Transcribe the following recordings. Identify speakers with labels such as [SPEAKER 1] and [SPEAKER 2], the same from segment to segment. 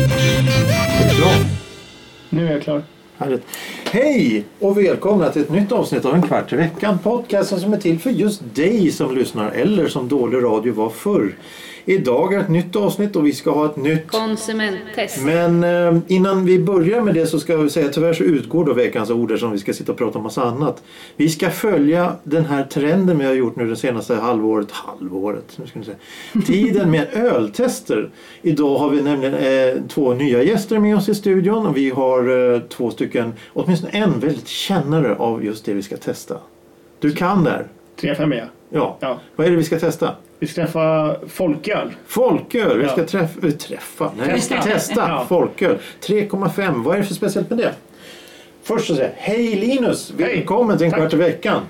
[SPEAKER 1] Bra.
[SPEAKER 2] Nu är jag klar.
[SPEAKER 1] Härligt. Hej och välkomna till ett nytt avsnitt av En kvart i veckan. Podcasten som är till för just dig som lyssnar eller som dålig radio var förr. Idag är ett nytt avsnitt och vi ska ha ett nytt.
[SPEAKER 3] Konsumenttest.
[SPEAKER 1] Men eh, innan vi börjar med det så ska vi säga att tyvärr så utgår då veckans ord som vi ska sitta och prata om massa annat. Vi ska följa den här trenden vi har gjort nu det senaste halvåret, halvåret, nu ska vi säga, tiden med öltester. Idag har vi nämligen eh, två nya gäster med oss i studion och vi har eh, två stycken, åtminstone en väldigt kännare av just det vi ska testa. Du kan där.
[SPEAKER 2] Tre fem är jag.
[SPEAKER 1] Ja.
[SPEAKER 2] Ja.
[SPEAKER 1] Vad är det vi ska testa?
[SPEAKER 2] Vi ska träffa folköl.
[SPEAKER 1] Folköl, vi ska
[SPEAKER 2] Ja.
[SPEAKER 1] träffa, äh, träffa nej, testa,
[SPEAKER 2] Testa. Ja.
[SPEAKER 1] folköl. 3,5, vad är det för speciellt med det? Först så säger jag, hej Linus,
[SPEAKER 2] Hej.
[SPEAKER 1] välkommen till en
[SPEAKER 2] Tack. Mm.
[SPEAKER 1] kvart i veckan.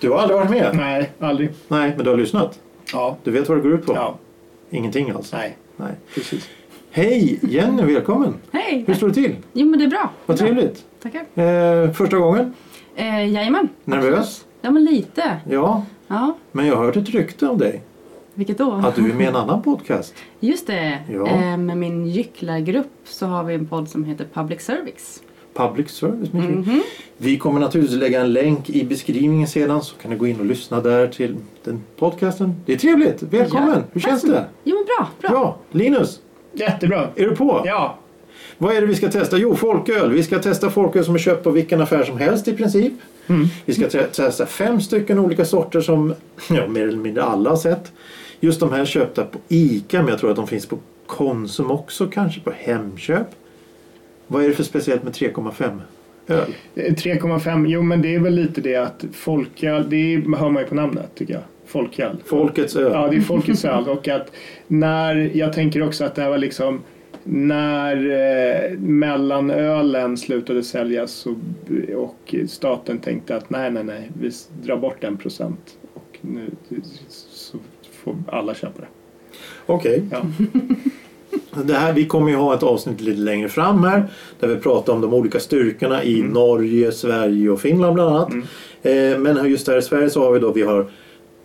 [SPEAKER 1] Du har aldrig varit med?
[SPEAKER 2] Nej, aldrig.
[SPEAKER 1] Nej, men du har lyssnat?
[SPEAKER 2] Ja.
[SPEAKER 1] Du vet vad det går ut på?
[SPEAKER 2] Ja.
[SPEAKER 1] Ingenting alls?
[SPEAKER 2] Nej,
[SPEAKER 1] nej.
[SPEAKER 2] precis.
[SPEAKER 1] Hej Jenny, välkommen.
[SPEAKER 4] Hej!
[SPEAKER 1] Hur står det till?
[SPEAKER 4] Jo men det är bra.
[SPEAKER 1] Vad trevligt.
[SPEAKER 4] Tackar.
[SPEAKER 1] Eh, första gången?
[SPEAKER 4] Eh, jajamän.
[SPEAKER 1] Nervös?
[SPEAKER 4] Ja men lite.
[SPEAKER 1] Ja,
[SPEAKER 4] Ja,
[SPEAKER 1] men jag har hört ett rykte om dig.
[SPEAKER 4] vilket då?
[SPEAKER 1] Att du är med i en annan podcast.
[SPEAKER 4] Just det.
[SPEAKER 1] Ja.
[SPEAKER 4] Eh, med min gycklargrupp så har vi en podd som heter Public Service.
[SPEAKER 1] public service mycket.
[SPEAKER 4] Mhm.
[SPEAKER 1] Vi kommer naturligtvis lägga en länk i beskrivningen sedan så kan du gå in och lyssna där till den podcasten. Det är trevligt! Välkommen!
[SPEAKER 4] Ja,
[SPEAKER 1] Hur
[SPEAKER 4] tack
[SPEAKER 1] känns
[SPEAKER 4] så
[SPEAKER 1] det?
[SPEAKER 4] mycket. Jo men bra. bra.
[SPEAKER 1] Bra! Linus,
[SPEAKER 2] Jättebra.
[SPEAKER 1] är du på?
[SPEAKER 2] Ja.
[SPEAKER 1] Vad är det vi ska testa? Jo, folköl. Vi ska testa folköl som är köpt på vilken affär som helst i princip.
[SPEAKER 4] Mm.
[SPEAKER 1] Vi ska te- testa fem stycken olika sorter som ja, mer eller mindre alla har sett. Just de här köpta på ICA, men jag tror att de finns på Konsum också, kanske på Hemköp. Vad är det för speciellt med 3,5 öl?
[SPEAKER 2] Eh, 3,5. Jo, men det är väl lite det att folköl, det hör man ju på namnet tycker jag. Folköl.
[SPEAKER 1] Folkets öl.
[SPEAKER 2] Ja, det är folkets öl. Och att när, jag tänker också att det här var liksom när eh, mellanölen slutade säljas och, och staten tänkte att nej, nej, nej, vi drar bort en procent och nu så får alla köpa det.
[SPEAKER 1] Okej.
[SPEAKER 2] Ja.
[SPEAKER 1] Det här, vi kommer ju ha ett avsnitt lite längre fram här där vi pratar om de olika styrkorna i
[SPEAKER 2] Mm.
[SPEAKER 1] Norge, Sverige och Finland bland annat. Eh, men här- just här i Sverige så har vi då vi har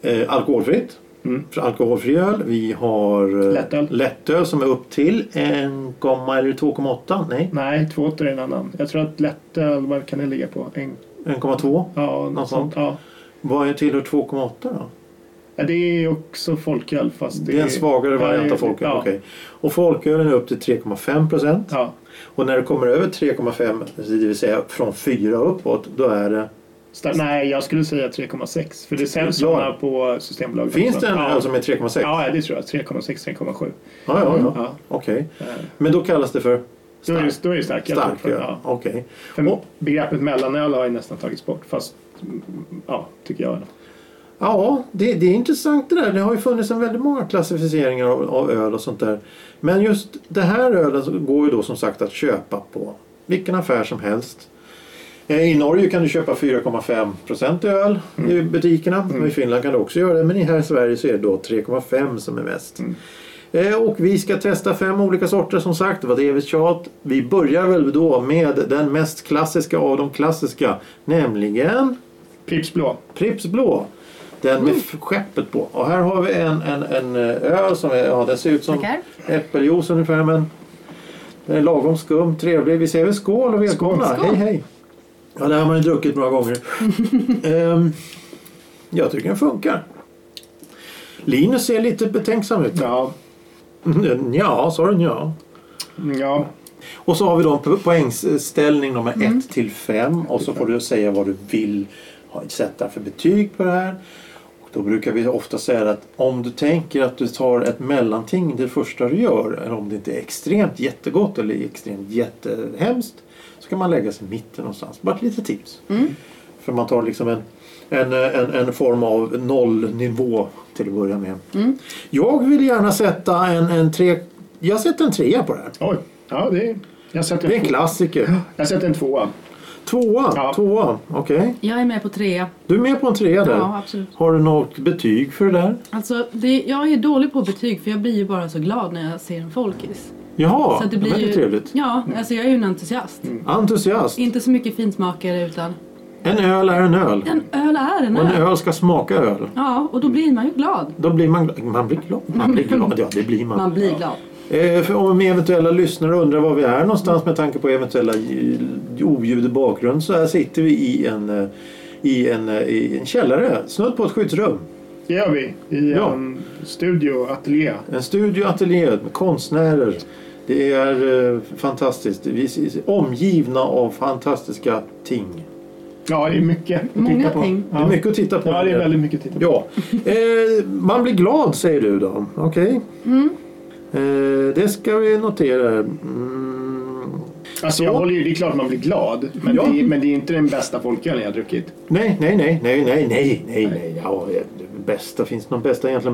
[SPEAKER 1] eh, alkoholfritt,
[SPEAKER 2] Mm.
[SPEAKER 1] för alkoholfri öl. Vi har eh,
[SPEAKER 2] Lättöl.
[SPEAKER 1] lättöl som är upp till 1,0 eller 2,8? Nej,
[SPEAKER 2] Nej, två åter är en annan. Jag tror att lättöl, vad kan det ligga på? En,
[SPEAKER 1] 1,2.
[SPEAKER 2] ja,
[SPEAKER 1] Något
[SPEAKER 2] något sånt. Ja.
[SPEAKER 1] Vad är tillhör 2,8 då?
[SPEAKER 2] Ja, det är också folköl fast det,
[SPEAKER 1] Det är en svagare
[SPEAKER 2] ja,
[SPEAKER 1] variant
[SPEAKER 2] det-
[SPEAKER 1] av folköl.
[SPEAKER 2] Ja,
[SPEAKER 1] okej. Och folkölen är upp till 3,5 procent.
[SPEAKER 2] ja,
[SPEAKER 1] Och när det kommer över 3,5, det vill säga från 4 uppåt, då är det...
[SPEAKER 2] Sta- Nej, jag skulle säga 3,6 för det säljs
[SPEAKER 1] Ja.
[SPEAKER 2] sådana på Systembolaget.
[SPEAKER 1] Finns det en
[SPEAKER 2] ja.
[SPEAKER 1] öl som är 3,6? Ja,
[SPEAKER 2] Ja, det tror jag. 3,6, 3,7.
[SPEAKER 1] ja, ja.
[SPEAKER 2] Ja.
[SPEAKER 1] Okej.
[SPEAKER 2] Eh,
[SPEAKER 1] Men då kallas det för
[SPEAKER 2] Då är
[SPEAKER 1] stark,
[SPEAKER 2] det, då är det starköl.
[SPEAKER 1] stark öl?
[SPEAKER 2] Ja.
[SPEAKER 1] Okej.
[SPEAKER 2] För
[SPEAKER 1] Och-
[SPEAKER 2] Begreppet mellanöl har ju nästan tagits bort fast, mm, ja, tycker jag.
[SPEAKER 1] Ja, det, det är intressant det där. Det har ju funnits en väldigt många klassificeringar av, av öl och sånt där. Men just det här ölen så går ju då som sagt att köpa på vilken affär som helst. Eh, I Norge kan du köpa 4,5 öl i butikerna. Och I Finland kan du också göra det. Men i här i Sverige så är det då 3,5 som är mest. Eh, Och vi ska testa fem olika sorter som sagt. Det var det vi tjat. Vi börjar väl då med den mest klassiska av de klassiska. Nämligen
[SPEAKER 2] Pripps blå.
[SPEAKER 1] Pripps blå. Den
[SPEAKER 4] Mm.
[SPEAKER 1] med f- skeppet på. Och här har vi en, en, en eh, öl som är, ja, den ser ut som
[SPEAKER 4] Tackar.
[SPEAKER 1] äppeljuice ungefär men den är lagom skum, trevlig. Vi säger väl skål och välkomna.
[SPEAKER 4] Skål.
[SPEAKER 1] Hej hej. Ja, det här har man ju druckit några gånger. Ehm, jag tycker den funkar. Linus ser lite betänksam ut.
[SPEAKER 2] Ja,
[SPEAKER 1] Ja, sa du ja.
[SPEAKER 2] ja.
[SPEAKER 1] Och så har vi då en po- poängställning nummer 1 till 5 och så får du säga vad du vill ha- sätta för betyg på det här. Och då brukar vi ofta säga att om du tänker att du tar ett mellanting det första du gör, eller om det inte är extremt jättegott eller extremt jättehemskt, så kan man lägga sig i mitten någonstans. Bara ett litet tips. För man tar liksom en, en, en, en form av nollnivå till att börja med. Jag vill gärna sätta en, en tre... Jag sätter en trea på det här.
[SPEAKER 2] Oj. Ja, det är... Jag sätter
[SPEAKER 1] Det är
[SPEAKER 2] en,
[SPEAKER 1] en
[SPEAKER 2] två-
[SPEAKER 1] klassiker.
[SPEAKER 2] jag sätter en tvåa.
[SPEAKER 1] Tvåa?
[SPEAKER 2] Ja.
[SPEAKER 1] Tvåa, okej.
[SPEAKER 4] Jag är med på trea.
[SPEAKER 1] Du är med på en trea där.
[SPEAKER 4] Ja, absolut.
[SPEAKER 1] Har du något betyg för det där?
[SPEAKER 4] Alltså, det, jag är dålig på betyg för jag blir ju bara så glad när jag ser en folkis.
[SPEAKER 1] Jaha,
[SPEAKER 4] så att
[SPEAKER 1] det, blir... det
[SPEAKER 4] ju,
[SPEAKER 1] är trevligt. Mm.
[SPEAKER 4] Ja, alltså jag är ju en entusiast.
[SPEAKER 1] Entusiast.
[SPEAKER 4] Inte så mycket finsmakare utan
[SPEAKER 1] En öl är en öl.
[SPEAKER 4] en öl är en
[SPEAKER 1] Och en
[SPEAKER 4] öl.
[SPEAKER 1] öl ska smaka öl.
[SPEAKER 4] Ja, och då blir man ju glad.
[SPEAKER 1] Då blir man glad. Man blir glad. Man blir glad. Ja, det blir man.
[SPEAKER 4] Man blir glad.
[SPEAKER 1] Eh, för om eventuella lyssnare undrar var vi är någonstans med tanke på eventuella eh, oljud i bakgrund så här sitter vi i en, eh, i en, eh, i en källare, snudd på ett skyddsrum.
[SPEAKER 2] Det gör vi i
[SPEAKER 1] Ja.
[SPEAKER 2] en studio, ateljé.
[SPEAKER 1] En studio, ateljé med konstnärer. Det är eh, fantastiskt. Vi är omgivna av fantastiska ting.
[SPEAKER 2] Ja, det är mycket att
[SPEAKER 4] Många
[SPEAKER 2] titta på.
[SPEAKER 4] ting.
[SPEAKER 2] Ja.
[SPEAKER 1] Det är mycket att titta på.
[SPEAKER 2] Ja, det är väldigt mycket att titta på.
[SPEAKER 1] Ja. Eh, man blir glad säger du då. Okej.
[SPEAKER 4] Mm.
[SPEAKER 1] Eh, det ska vi notera. Mm.
[SPEAKER 2] Alltså, jag
[SPEAKER 1] Ja.
[SPEAKER 2] håller ju, det är klart man blir glad, men,
[SPEAKER 1] Ja.
[SPEAKER 2] det, är, men det är inte den bästa folkölen jag har druckit.
[SPEAKER 1] Nej, nej, nej, nej, nej, nej, nej, nej. Ja, det bästa finns det någon bästa egentligen.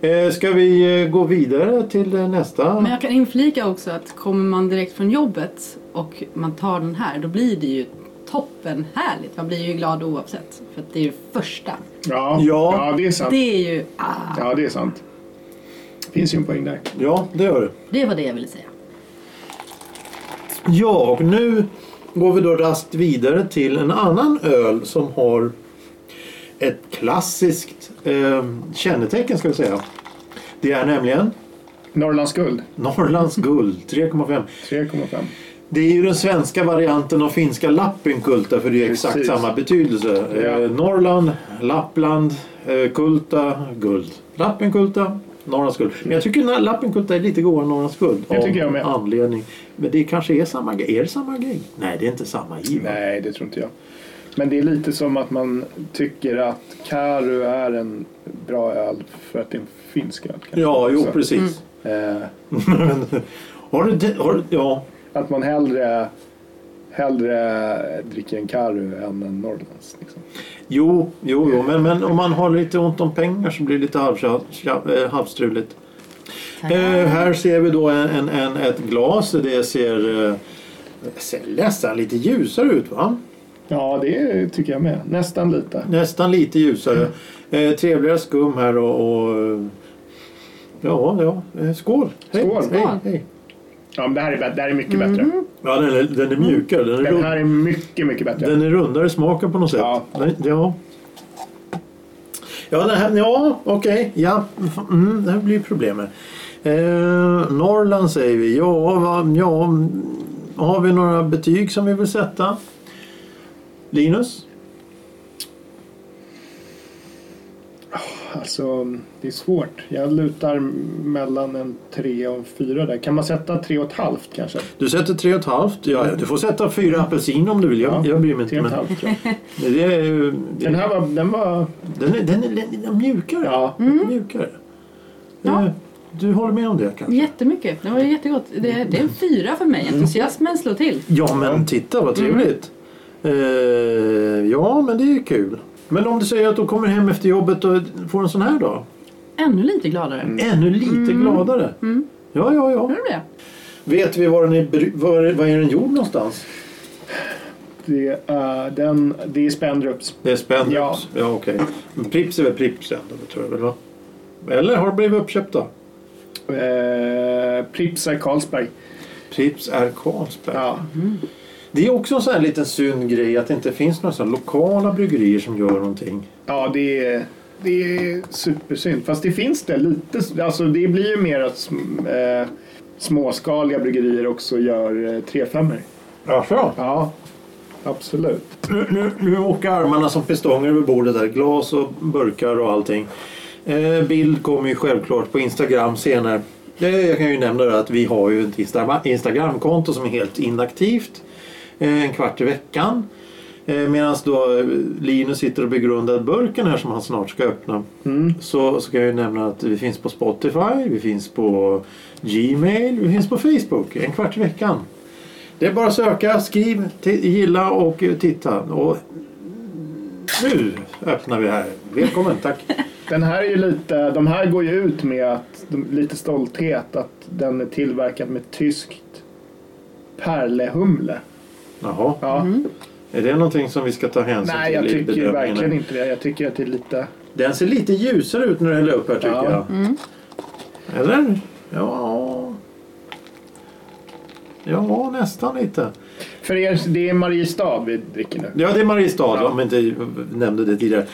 [SPEAKER 1] Men eh, ska vi eh, gå vidare till eh, nästa?
[SPEAKER 4] Men jag kan inflika också att kommer man direkt från jobbet och man tar den här då blir det ju toppen härligt. Man blir ju glad oavsett. För att det är ju första.
[SPEAKER 2] Ja,
[SPEAKER 1] Ja.
[SPEAKER 2] det är sant.
[SPEAKER 4] Det är ju... Ah,
[SPEAKER 2] Ja, det är sant. finns ju en poäng där.
[SPEAKER 1] Ja, det gör du.
[SPEAKER 4] det var det jag ville säga.
[SPEAKER 1] Ja, och nu går vi då raskt vidare till en annan öl som har ett klassiskt eh, kännetecken ska vi säga. Det är nämligen
[SPEAKER 2] Norrlands guld,
[SPEAKER 1] Norrlands guld 3,5.
[SPEAKER 2] 3,5.
[SPEAKER 1] Det är ju den svenska varianten av finska Lappinkulta för det är exakt
[SPEAKER 2] Precis.
[SPEAKER 1] samma betydelse.
[SPEAKER 2] Ja.
[SPEAKER 1] Eh, Norrland, Lappland, eh, Kulta, guld. Lappinkulta, Norrlands guld. Men jag tycker na- Lappinkulta är lite godare än Norrlands guld.
[SPEAKER 2] Det tycker jag med.
[SPEAKER 1] anledning. Men det kanske är samma grej. Är det samma grej? Nej, det är inte samma giv.
[SPEAKER 2] Nej, det tror inte jag. Men det är lite som att man tycker att Karu är en bra öl för att det är en finsk öl. kanske.
[SPEAKER 1] Ja, jo
[SPEAKER 2] Så,
[SPEAKER 1] precis.
[SPEAKER 2] eh,
[SPEAKER 1] har du, de- har du, ja.
[SPEAKER 2] Att man hellre, hellre dricker en Karu än en Norrlands. Liksom.
[SPEAKER 1] Jo, jo, jo. Men, men om man har lite ont om pengar så blir det lite halvstra- stra- eh, halvstruligt. Eh, här ser vi då en, en, en, ett glas. Det ser, eh, ser nästan lite ljusare ut va?
[SPEAKER 2] Ja, det tycker jag med. Nästan lite.
[SPEAKER 1] Nästan lite ljusare. Eh, trevligare skum här och, och eh, ja, ja. Eh, skål! Hej,
[SPEAKER 2] Skål.
[SPEAKER 1] Hej,
[SPEAKER 4] Skål.
[SPEAKER 1] hej.
[SPEAKER 2] Ja, men det här är, bä- det här är mycket bättre.
[SPEAKER 1] Ja, den är, den är mjukare. Den är,
[SPEAKER 2] Den här
[SPEAKER 1] rund,
[SPEAKER 2] är mycket, mycket bättre.
[SPEAKER 1] den är rundare i smaken på något sätt.
[SPEAKER 2] Ja.
[SPEAKER 1] Den, ja. Ja, det här, ja okej. Ja, mm, det här blir problem här. Eh, Norrland säger vi. Ja, va, ja, mm, har vi några betyg som vi vill sätta? Linus?
[SPEAKER 2] Alltså, det är svårt. Jag lutar mellan en tre och en fyra där. Kan man sätta tre och ett halvt kanske?
[SPEAKER 1] Du sätter tre och ett halvt. Ja, du får sätta fyra apelsin om du vill. Jag, jag bryr mig
[SPEAKER 2] Tre
[SPEAKER 1] inte.
[SPEAKER 2] och ett
[SPEAKER 1] Men
[SPEAKER 2] halvt tror jag.
[SPEAKER 1] det är, ju- det,
[SPEAKER 2] Den här var... Den var
[SPEAKER 1] den, är, den, är, den är mjukare.
[SPEAKER 2] ja.
[SPEAKER 1] mjukare.
[SPEAKER 4] Ja.
[SPEAKER 1] Eh, Du håller med om det kanske?
[SPEAKER 4] Jättemycket. Det var ju jättegott. Det, det är en fyra för
[SPEAKER 2] Mm.
[SPEAKER 4] mig. Entusiasmen slår till.
[SPEAKER 1] Ja men titta vad trevligt. Eh, ja men det är ju kul. Men om du säger att du kommer hem efter jobbet och får en sån här då?
[SPEAKER 4] Ännu lite gladare.
[SPEAKER 2] Mm.
[SPEAKER 1] Ännu lite gladare. Ja, ja, ja.
[SPEAKER 4] Hör du det?
[SPEAKER 1] Vet vi var den är, bry- var, var är den gjord någonstans?
[SPEAKER 2] Det är, eh, den, det är Spendrups.
[SPEAKER 1] Det är spännande.
[SPEAKER 2] Ja.
[SPEAKER 1] ja okej. Men Pripps är väl Pripps ändå, det tror jag väl va? Eller har det blivit uppköpta?
[SPEAKER 2] Eh, Pripps är Carlsberg.
[SPEAKER 1] Pripps är Carlsberg.
[SPEAKER 2] Ja.
[SPEAKER 1] Det är också en sån här liten synd grej att det inte finns några sådana lokala bryggerier som gör någonting.
[SPEAKER 2] ja, det är, det är supersynd. Fast det finns det lite. Alltså, det blir ju mer att sm- eh, småskaliga bryggerier också gör eh, trefemmor.
[SPEAKER 1] Jaså?
[SPEAKER 2] Ja, absolut.
[SPEAKER 1] Nu, nu, nu åker armarna som pistonger över bordet där. Glas och burkar och allting. Eh, bild kommer ju självklart på Instagram senare. Eh, jag kan ju nämna det att vi har ju ett Insta- Instagramkonto som är helt inaktivt. Eh, en kvart i veckan. Eh, Medan då eh, Linus sitter och begrundar burken här som han snart ska öppna. Så ska jag ju nämna att vi finns på Spotify, vi finns på Gmail, vi finns på Facebook. En kvart i veckan. Det är bara att söka, skriv, ti- gilla och eh, titta. Och nu öppnar vi här. Välkommen, tack.
[SPEAKER 2] Den här är ju lite, de här går ju ut med att, de, lite stolthet att den är tillverkad med tyskt pärlehumle.
[SPEAKER 1] Jaha,
[SPEAKER 2] Ja.
[SPEAKER 1] Är det någonting som vi ska ta hänsyn
[SPEAKER 2] Nej, jag
[SPEAKER 1] till i
[SPEAKER 2] tycker ju
[SPEAKER 1] bedömningen?
[SPEAKER 2] verkligen inte det. Jag tycker att det är lite...
[SPEAKER 1] Den ser lite ljusare ut när du häller upp här tycker
[SPEAKER 2] Ja.
[SPEAKER 1] jag.
[SPEAKER 4] Mm.
[SPEAKER 1] Eller? Ja. Ja, nästan lite.
[SPEAKER 2] För er, det är Mariestad vi dricker nu.
[SPEAKER 1] Ja, det är Mariestad
[SPEAKER 2] Ja.
[SPEAKER 1] om jag inte nämnde det tidigare.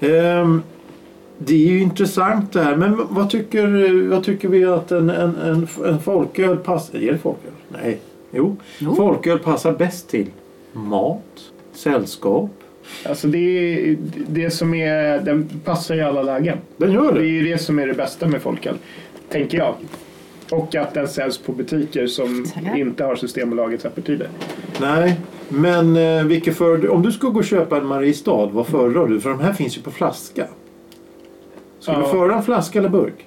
[SPEAKER 1] Ehm, det är ju intressant det här. Men vad tycker, vad tycker vi att en, en, en, en folköl passar... Är det folköl? Nej. Jo.
[SPEAKER 4] Jo.
[SPEAKER 1] Folköl passar bäst till mat, sällskap.
[SPEAKER 2] Alltså det, är, det som är... Den passar i alla lägen.
[SPEAKER 1] Den gör
[SPEAKER 2] Det är
[SPEAKER 1] det.
[SPEAKER 2] ju det som är det bästa med folköl, tänker jag. Och att den säljs på butiker som
[SPEAKER 4] Tackar.
[SPEAKER 2] inte har Systembolagets öppettider.
[SPEAKER 1] Nej. Men eh, vilket för, om du skulle gå och köpa en Mariestad, vad föredrar du? För de här finns ju på flaska. Ska du
[SPEAKER 2] Ja.
[SPEAKER 1] föra en flaska eller burk?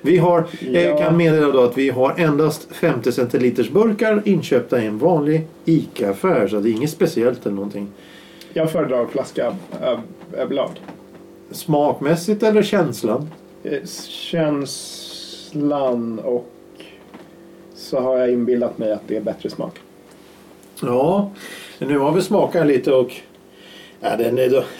[SPEAKER 1] Vi har, Jag
[SPEAKER 2] Ja.
[SPEAKER 1] kan meddela då att vi har endast 50 centiliters burkar inköpta i en vanlig ICA-affär. Så det är inget speciellt eller någonting.
[SPEAKER 2] Jag föredrar flaska öv- överlag.
[SPEAKER 1] Smakmässigt eller känslan?
[SPEAKER 2] Eh, Känslan och så har jag inbillat mig att det är bättre smak.
[SPEAKER 1] Ja, nu har vi smakat lite och... Ja, den är då...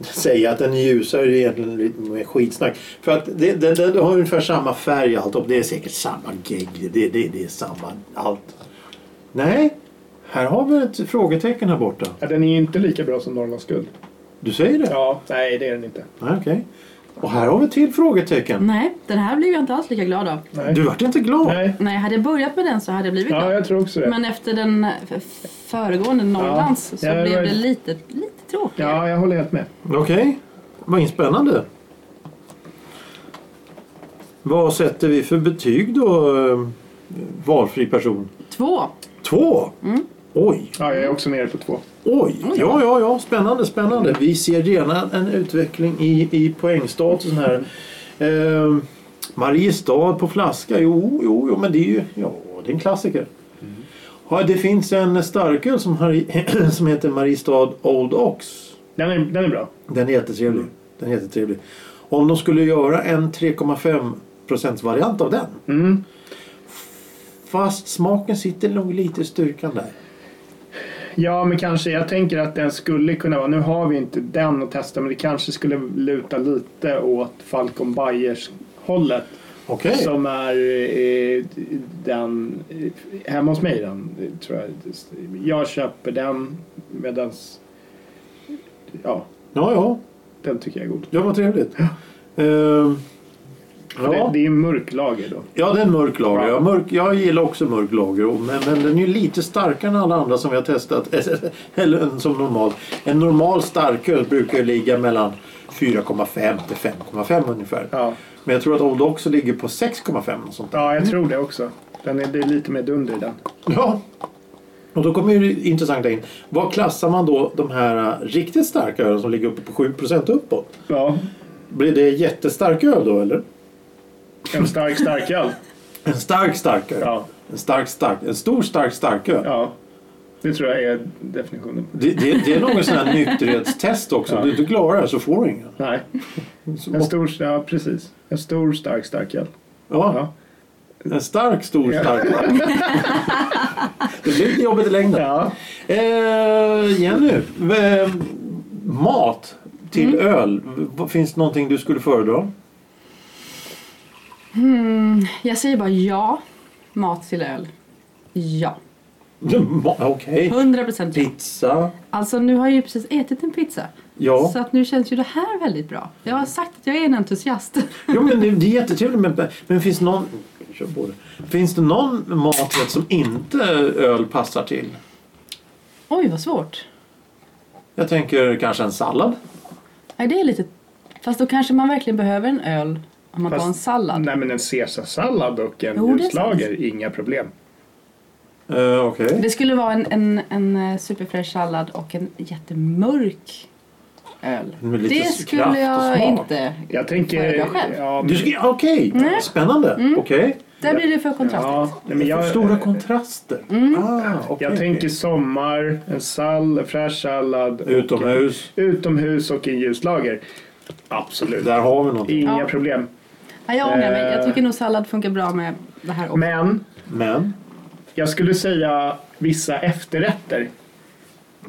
[SPEAKER 1] Säga att den är ljusare är egentligen lite mer skitsnack. För att det, den, den har ungefär samma färg allt och det är säkert samma gegg. Det, det, det är samma allt. Nej, här har vi ett frågetecken här borta.
[SPEAKER 2] Ja, Den är ju inte lika bra som Norrlands guld.
[SPEAKER 1] Du säger det?
[SPEAKER 2] Ja, nej det är den inte.
[SPEAKER 1] Nej, okej. Och här har vi ett till frågetecken.
[SPEAKER 4] Nej, den här blev jag inte alls lika glad av.
[SPEAKER 2] Nej.
[SPEAKER 1] Du vart inte glad?
[SPEAKER 2] Mm. nej.
[SPEAKER 4] Nej, hade jag börjat med den så hade jag blivit
[SPEAKER 2] Ja,
[SPEAKER 4] glad.
[SPEAKER 2] jag tror också det.
[SPEAKER 4] Men efter den f- föregående Norrlands så
[SPEAKER 2] Ja, det
[SPEAKER 4] blev
[SPEAKER 2] var-
[SPEAKER 4] det lite, lite tråkigare.
[SPEAKER 2] Ja, jag håller helt med.
[SPEAKER 1] Okej, vad spännande. Vad sätter vi för betyg då? eh, Valfri person?
[SPEAKER 4] Två.
[SPEAKER 1] Två? Oj,
[SPEAKER 2] Ja, jag är också nere på två.
[SPEAKER 1] oj, ja, ja, ja, spännande, spännande. Vi ser gärna en utveckling i, i poängstatusen här. Eh, Mariestad på flaska, jo, jo, jo, men det är ju ja, det är en klassiker. Ja, det finns en starköl som, har- som heter Mariestad Old Ox.
[SPEAKER 2] Den är, den är bra.
[SPEAKER 1] Den är jättetrevlig.
[SPEAKER 2] Mm.
[SPEAKER 1] Den är jättetrevlig. Om de skulle göra en 3,5 variant av den.
[SPEAKER 2] Mm.
[SPEAKER 1] Fast smaken sitter nog lite i styrkan där.
[SPEAKER 2] Ja, men kanske. Jag tänker att den skulle kunna vara... Nu har vi inte den att testa, men det kanske skulle luta lite åt Falcon Bayers hållet
[SPEAKER 1] Okej.
[SPEAKER 2] Som är eh, den... eh, Hemma hos mig den, eh, tror jag. Jag köper den medans... Ja,
[SPEAKER 1] Ja, ja.
[SPEAKER 2] den tycker jag är god.
[SPEAKER 1] Ja, vad trevligt. Ehm,
[SPEAKER 2] För Det,
[SPEAKER 1] ja.
[SPEAKER 2] det är mörk lager då.
[SPEAKER 1] ja, det är en mörk lager. Ja, mörk, jag gillar också mörk lager. och- Men, men den är ju lite starkare än alla andra som vi har testat. Eller än som normal. En normal starköl brukar ju ligga mellan 4,5 till 5,5 ungefär.
[SPEAKER 2] Ja,
[SPEAKER 1] Men jag tror att Old också ligger på 6,5 och sånt där.
[SPEAKER 2] ja jag tror det också. Den är, det är lite mer dunder i den.
[SPEAKER 1] Ja. Och då kommer ju det intressanta in. Vad klassar man då de här eh, riktigt starka ölen som ligger uppe på 7 uppåt?
[SPEAKER 2] Ja,
[SPEAKER 1] Blir det jättestark öl då eller?
[SPEAKER 2] en stark starköl.
[SPEAKER 1] En stark stark öl.
[SPEAKER 2] Ja,
[SPEAKER 1] En stark stark, en stor stark stark öl.
[SPEAKER 2] ja. Det tror jag är definitionen.
[SPEAKER 1] Det, det, det är någon sån här nykterhetstest också.
[SPEAKER 2] Ja.
[SPEAKER 1] Om du inte klarar det här så får du inga.
[SPEAKER 2] Nej, en
[SPEAKER 1] Så,
[SPEAKER 2] stor... Ja, precis. En stor stark starköl.
[SPEAKER 1] ja,
[SPEAKER 2] Ja.
[SPEAKER 1] en stark stor
[SPEAKER 2] Ja.
[SPEAKER 1] stark öl. Det blir lite jobbigt i längden.
[SPEAKER 2] Ja.
[SPEAKER 1] Eh, Jenny, eh, mat till
[SPEAKER 4] Mm.
[SPEAKER 1] öl. Vad- Finns det någonting du skulle föredra?
[SPEAKER 4] Jag säger bara ja. Mat till öl. Ja.
[SPEAKER 1] Ma- Okej.
[SPEAKER 4] 100 procent ja.
[SPEAKER 1] Pizza.
[SPEAKER 4] Alltså nu har jag ju precis ätit en pizza.
[SPEAKER 1] Ja.
[SPEAKER 4] Så att nu känns ju det här väldigt bra. Jag har sagt att jag är en entusiast.
[SPEAKER 1] Jo, men det, det är jättetrevligt. Men, men finns, det någon, kör på det. finns det någon maträtt som inte öl passar till?
[SPEAKER 4] Oj, vad svårt.
[SPEAKER 1] Jag tänker kanske en sallad.
[SPEAKER 4] Nej, det är lite... Fast då kanske man verkligen behöver en öl om man
[SPEAKER 2] Fast-
[SPEAKER 4] tar en sallad.
[SPEAKER 2] Nej, men en caesarsallad och en
[SPEAKER 4] Jo, det är
[SPEAKER 2] ljuslager, inga problem.
[SPEAKER 1] Eh, Okej.
[SPEAKER 4] Det skulle vara en, en, en eh, superfräsch sallad och en jättemörk öl.
[SPEAKER 1] Med lite
[SPEAKER 4] det
[SPEAKER 1] s-
[SPEAKER 4] skulle
[SPEAKER 1] kraft och
[SPEAKER 4] jag
[SPEAKER 1] smak.
[SPEAKER 4] inte...
[SPEAKER 2] Jag tänker...
[SPEAKER 4] Föredrar själv.
[SPEAKER 2] Ja, men-
[SPEAKER 1] Du ska- Okej,
[SPEAKER 4] Mm.
[SPEAKER 1] spännande. Okej.
[SPEAKER 4] Där blir det för kontrast.
[SPEAKER 2] Ja, nej, men jag,
[SPEAKER 1] Stora kontraster.
[SPEAKER 4] Mm.
[SPEAKER 1] Ah, okej.
[SPEAKER 2] jag tänker sommar, en sall, en fräsch sallad. och-
[SPEAKER 1] Utomhus.
[SPEAKER 2] utomhus och en ljuslager. Absolut.
[SPEAKER 1] Där har vi något.
[SPEAKER 2] Inga
[SPEAKER 4] Ja.
[SPEAKER 2] problem.
[SPEAKER 4] Nej, jag ångrar mig.
[SPEAKER 2] Eh.
[SPEAKER 4] Jag tycker nog sallad funkar bra med det här också.
[SPEAKER 2] Men
[SPEAKER 1] Men.
[SPEAKER 2] jag skulle säga vissa efterrätter.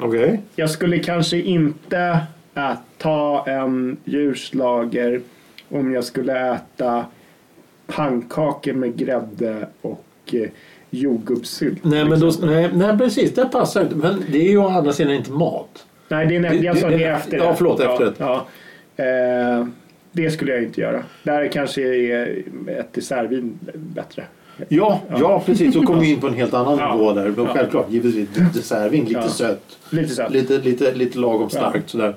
[SPEAKER 1] Okej.
[SPEAKER 2] Jag skulle kanske inte äh, ta en djurslager om jag skulle äta pannkakor med grädde och eh, jordgubbssylt.
[SPEAKER 1] Nej, men då,
[SPEAKER 2] liksom.
[SPEAKER 1] nej, nej, precis. Det passar inte. Men det är ju å andra sidan inte mat.
[SPEAKER 2] Nej, det är nämligen, jag
[SPEAKER 1] Det-
[SPEAKER 2] sa
[SPEAKER 1] det-
[SPEAKER 2] det är efterrätt.
[SPEAKER 1] ja, förlåt, efterrätt.
[SPEAKER 2] Ja, ja. Eh, det skulle jag inte göra. Där kanske är ett dessertvin bättre.
[SPEAKER 1] Ja, ja. precis. Då kommer vi in på en helt annan
[SPEAKER 2] Ja.
[SPEAKER 1] nivå där. Men
[SPEAKER 2] Ja.
[SPEAKER 1] Självklart, givetvis dessertvin. Lite
[SPEAKER 2] Ja.
[SPEAKER 1] sött.
[SPEAKER 2] Lite så. här.
[SPEAKER 1] Lite, lite, lite lagom starkt sådär.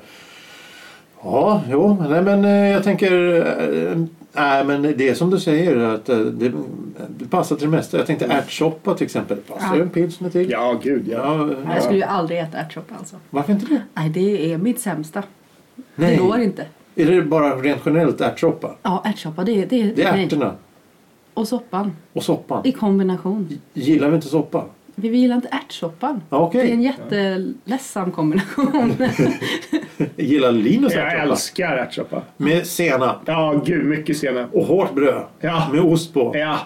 [SPEAKER 1] Ja, jo. Nej, men eh, jag tänker... eh, Nej, men det är som du säger. att eh, Det, det passar till det mesta. Jag tänkte ärtsoppa till exempel. Passar
[SPEAKER 4] Ja.
[SPEAKER 1] ju en pilsner till.
[SPEAKER 2] Ja, gud ja.
[SPEAKER 1] Ja, eh,
[SPEAKER 4] Nej, Jag skulle ju aldrig äta ärtsoppa alltså.
[SPEAKER 1] Varför inte det?
[SPEAKER 4] Nej, det är mitt sämsta.
[SPEAKER 1] Nej.
[SPEAKER 4] Det går inte.
[SPEAKER 1] Är det bara rent generellt ärtsoppa?
[SPEAKER 4] Ja, ärtsoppa, det, det,
[SPEAKER 1] Det är
[SPEAKER 4] nej.
[SPEAKER 1] ärtorna
[SPEAKER 4] Och soppan
[SPEAKER 1] och soppan.
[SPEAKER 4] i kombination.
[SPEAKER 1] Gillar vi inte soppa?
[SPEAKER 4] Vi vi gillar inte ärtsoppan.
[SPEAKER 1] Ja, okej.
[SPEAKER 4] Det är en jätteledsam kombination.
[SPEAKER 1] Gillar Linus
[SPEAKER 2] Jag
[SPEAKER 1] ärtsoppa?
[SPEAKER 2] älskar ärtsoppa.
[SPEAKER 1] Med senap
[SPEAKER 2] Ja, gud, mycket senap.
[SPEAKER 1] och hårt bröd
[SPEAKER 2] Ja.
[SPEAKER 1] med ost på.
[SPEAKER 2] Ja.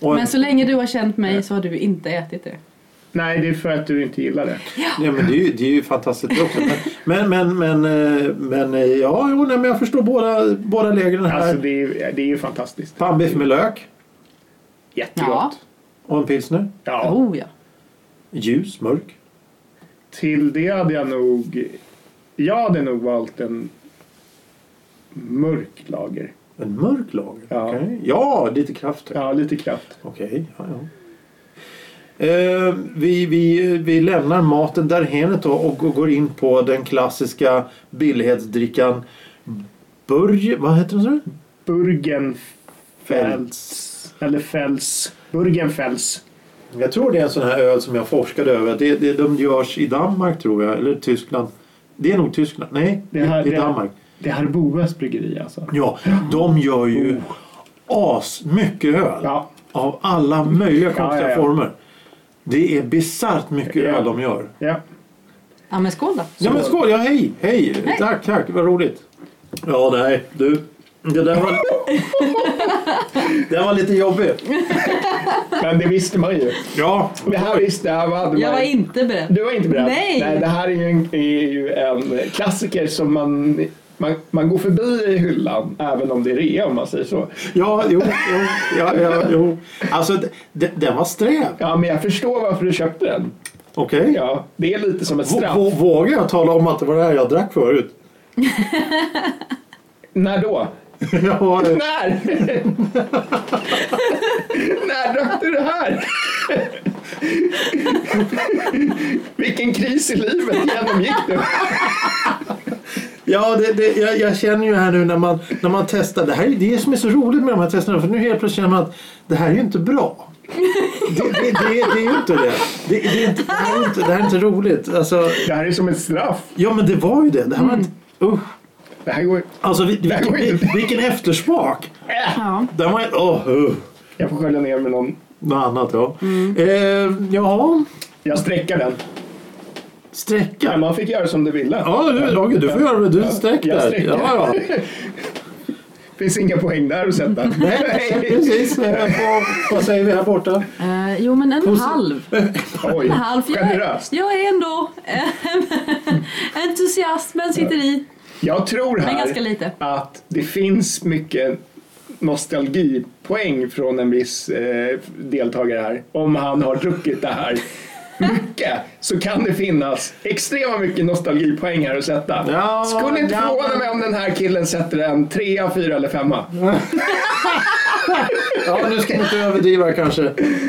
[SPEAKER 1] Och en,
[SPEAKER 4] Men så länge du har känt mig så har du inte ätit det.
[SPEAKER 2] Nej, det är för att du inte gillar det.
[SPEAKER 1] ja, men det, är ju, det är ju fantastiskt också. Men, men, men, men, eh, men eh, ja, jo, nej, men jag förstår båda, båda lägren här.
[SPEAKER 2] Alltså, det är, det är ju fantastiskt.
[SPEAKER 1] Pannbiff med lök
[SPEAKER 2] Jättegott.
[SPEAKER 1] och en pilsner.
[SPEAKER 2] Ja.
[SPEAKER 4] Oh ja.
[SPEAKER 1] Ljus, mörk.
[SPEAKER 2] Till det hade jag nog... Jag hade nog valt en mörk lager.
[SPEAKER 1] En mörk lager?
[SPEAKER 2] Ja.
[SPEAKER 1] Okej. ja lite kraft.
[SPEAKER 2] Ja, lite kraft.
[SPEAKER 1] Okej, ja, ja. Eh, vi, vi, vi lämnar maten därhen då och går- går in på den klassiska billighetsdrickan Burg... Vad heter den? sa du?
[SPEAKER 2] Burgenfels. Eller Fels. Burgenfels.
[SPEAKER 1] Jag tror det är en sån här öl som jag forskade över. Det, det, de görs i Danmark tror jag, eller Tyskland. Det är nog Tyskland. Nej,
[SPEAKER 2] Det här-
[SPEAKER 1] i, i
[SPEAKER 2] det-
[SPEAKER 1] Danmark.
[SPEAKER 2] Det här är Boes bryggeri alltså.
[SPEAKER 1] Ja, de gör ju asmycket öl.
[SPEAKER 2] Ja.
[SPEAKER 1] Av alla möjliga konstiga
[SPEAKER 2] ja, ja.
[SPEAKER 1] former. Det är bisarrt mycket
[SPEAKER 2] Ja.
[SPEAKER 1] öl de gör.
[SPEAKER 2] Ja.
[SPEAKER 4] Ja men skål då.
[SPEAKER 1] Ja men skål, ja hej, hej,
[SPEAKER 4] Hej.
[SPEAKER 1] tack, tack, vad roligt. Ja nej, du, det där var, det där var lite jobbigt.
[SPEAKER 2] Men det visste man ju.
[SPEAKER 1] Ja,
[SPEAKER 2] Det här visste jag. Vad hade
[SPEAKER 4] Jag
[SPEAKER 2] man
[SPEAKER 4] var
[SPEAKER 2] ju.
[SPEAKER 4] inte beredd.
[SPEAKER 2] Du var inte beredd?
[SPEAKER 4] Nej.
[SPEAKER 2] det här är ju en, är ju en klassiker som man, man, man går förbi i hyllan även om det är rea om man säger så.
[SPEAKER 1] ja, jo, jo, ja, ja, jo. Alltså d- d- den var sträv.
[SPEAKER 2] Ja, men jag förstår varför du köpte den.
[SPEAKER 1] Okej.
[SPEAKER 2] Ja, det är lite som ett
[SPEAKER 1] Vå-
[SPEAKER 2] straff.
[SPEAKER 1] vå- Vågar jag tala om att det var det här jag drack förut?
[SPEAKER 2] När då?
[SPEAKER 1] Ja, eh,
[SPEAKER 2] När? När drack du det här? Vilken kris i livet genomgick du?
[SPEAKER 1] ja det, det, jag, jag känner ju här nu när man, när man testar. Det här är ju det som är så roligt med de här testerna. För nu helt plötsligt känner man att det här är ju inte bra. Det, det, det, det är ju inte det. Det, det, är inte, det, här är inte, det här är inte roligt. Alltså,
[SPEAKER 2] Det här är som ett straff.
[SPEAKER 1] Ja men det var ju det. Det här var inte... Usch.
[SPEAKER 2] Det här går...
[SPEAKER 1] Alltså vi,
[SPEAKER 2] Mm. här
[SPEAKER 1] vilken,
[SPEAKER 2] var ju-
[SPEAKER 1] vi, vilken eftersmak.
[SPEAKER 4] Ja.
[SPEAKER 1] Den var åh, uh,
[SPEAKER 2] Jag får skölja ner med någon.
[SPEAKER 1] något annat ja.
[SPEAKER 2] Mm.
[SPEAKER 1] Eh, jaha,
[SPEAKER 2] Jag sträcker den. Men
[SPEAKER 1] sträcka.
[SPEAKER 2] man fick göra som du ville.
[SPEAKER 1] Ja du, Roger, du får göra det. Du sträck
[SPEAKER 2] jag
[SPEAKER 1] där.
[SPEAKER 2] sträcker.
[SPEAKER 1] Ja, ja.
[SPEAKER 2] finns inga poäng där att sätta.
[SPEAKER 1] Nej, precis. Eh, vad- Vad säger vi här borta?
[SPEAKER 4] Eh, jo men en halv.
[SPEAKER 2] Oj,
[SPEAKER 4] En halv. Jag är,
[SPEAKER 2] generöst.
[SPEAKER 4] jag är ändå eh, entusiasmen sitter i.
[SPEAKER 2] Jag tror
[SPEAKER 4] Men
[SPEAKER 2] här
[SPEAKER 4] ganska lite.
[SPEAKER 2] att det finns mycket nostalgipoäng från en viss eh, deltagare här. Om han har druckit det här mycket så kan det finnas extrema mycket nostalgipoäng här att sätta.
[SPEAKER 1] Ja,
[SPEAKER 2] Skulle inte
[SPEAKER 1] ja.
[SPEAKER 2] förvåna mig om den här killen sätter en trea, fyra eller femma.
[SPEAKER 1] Ja, nu ska vi inte överdriva kanske.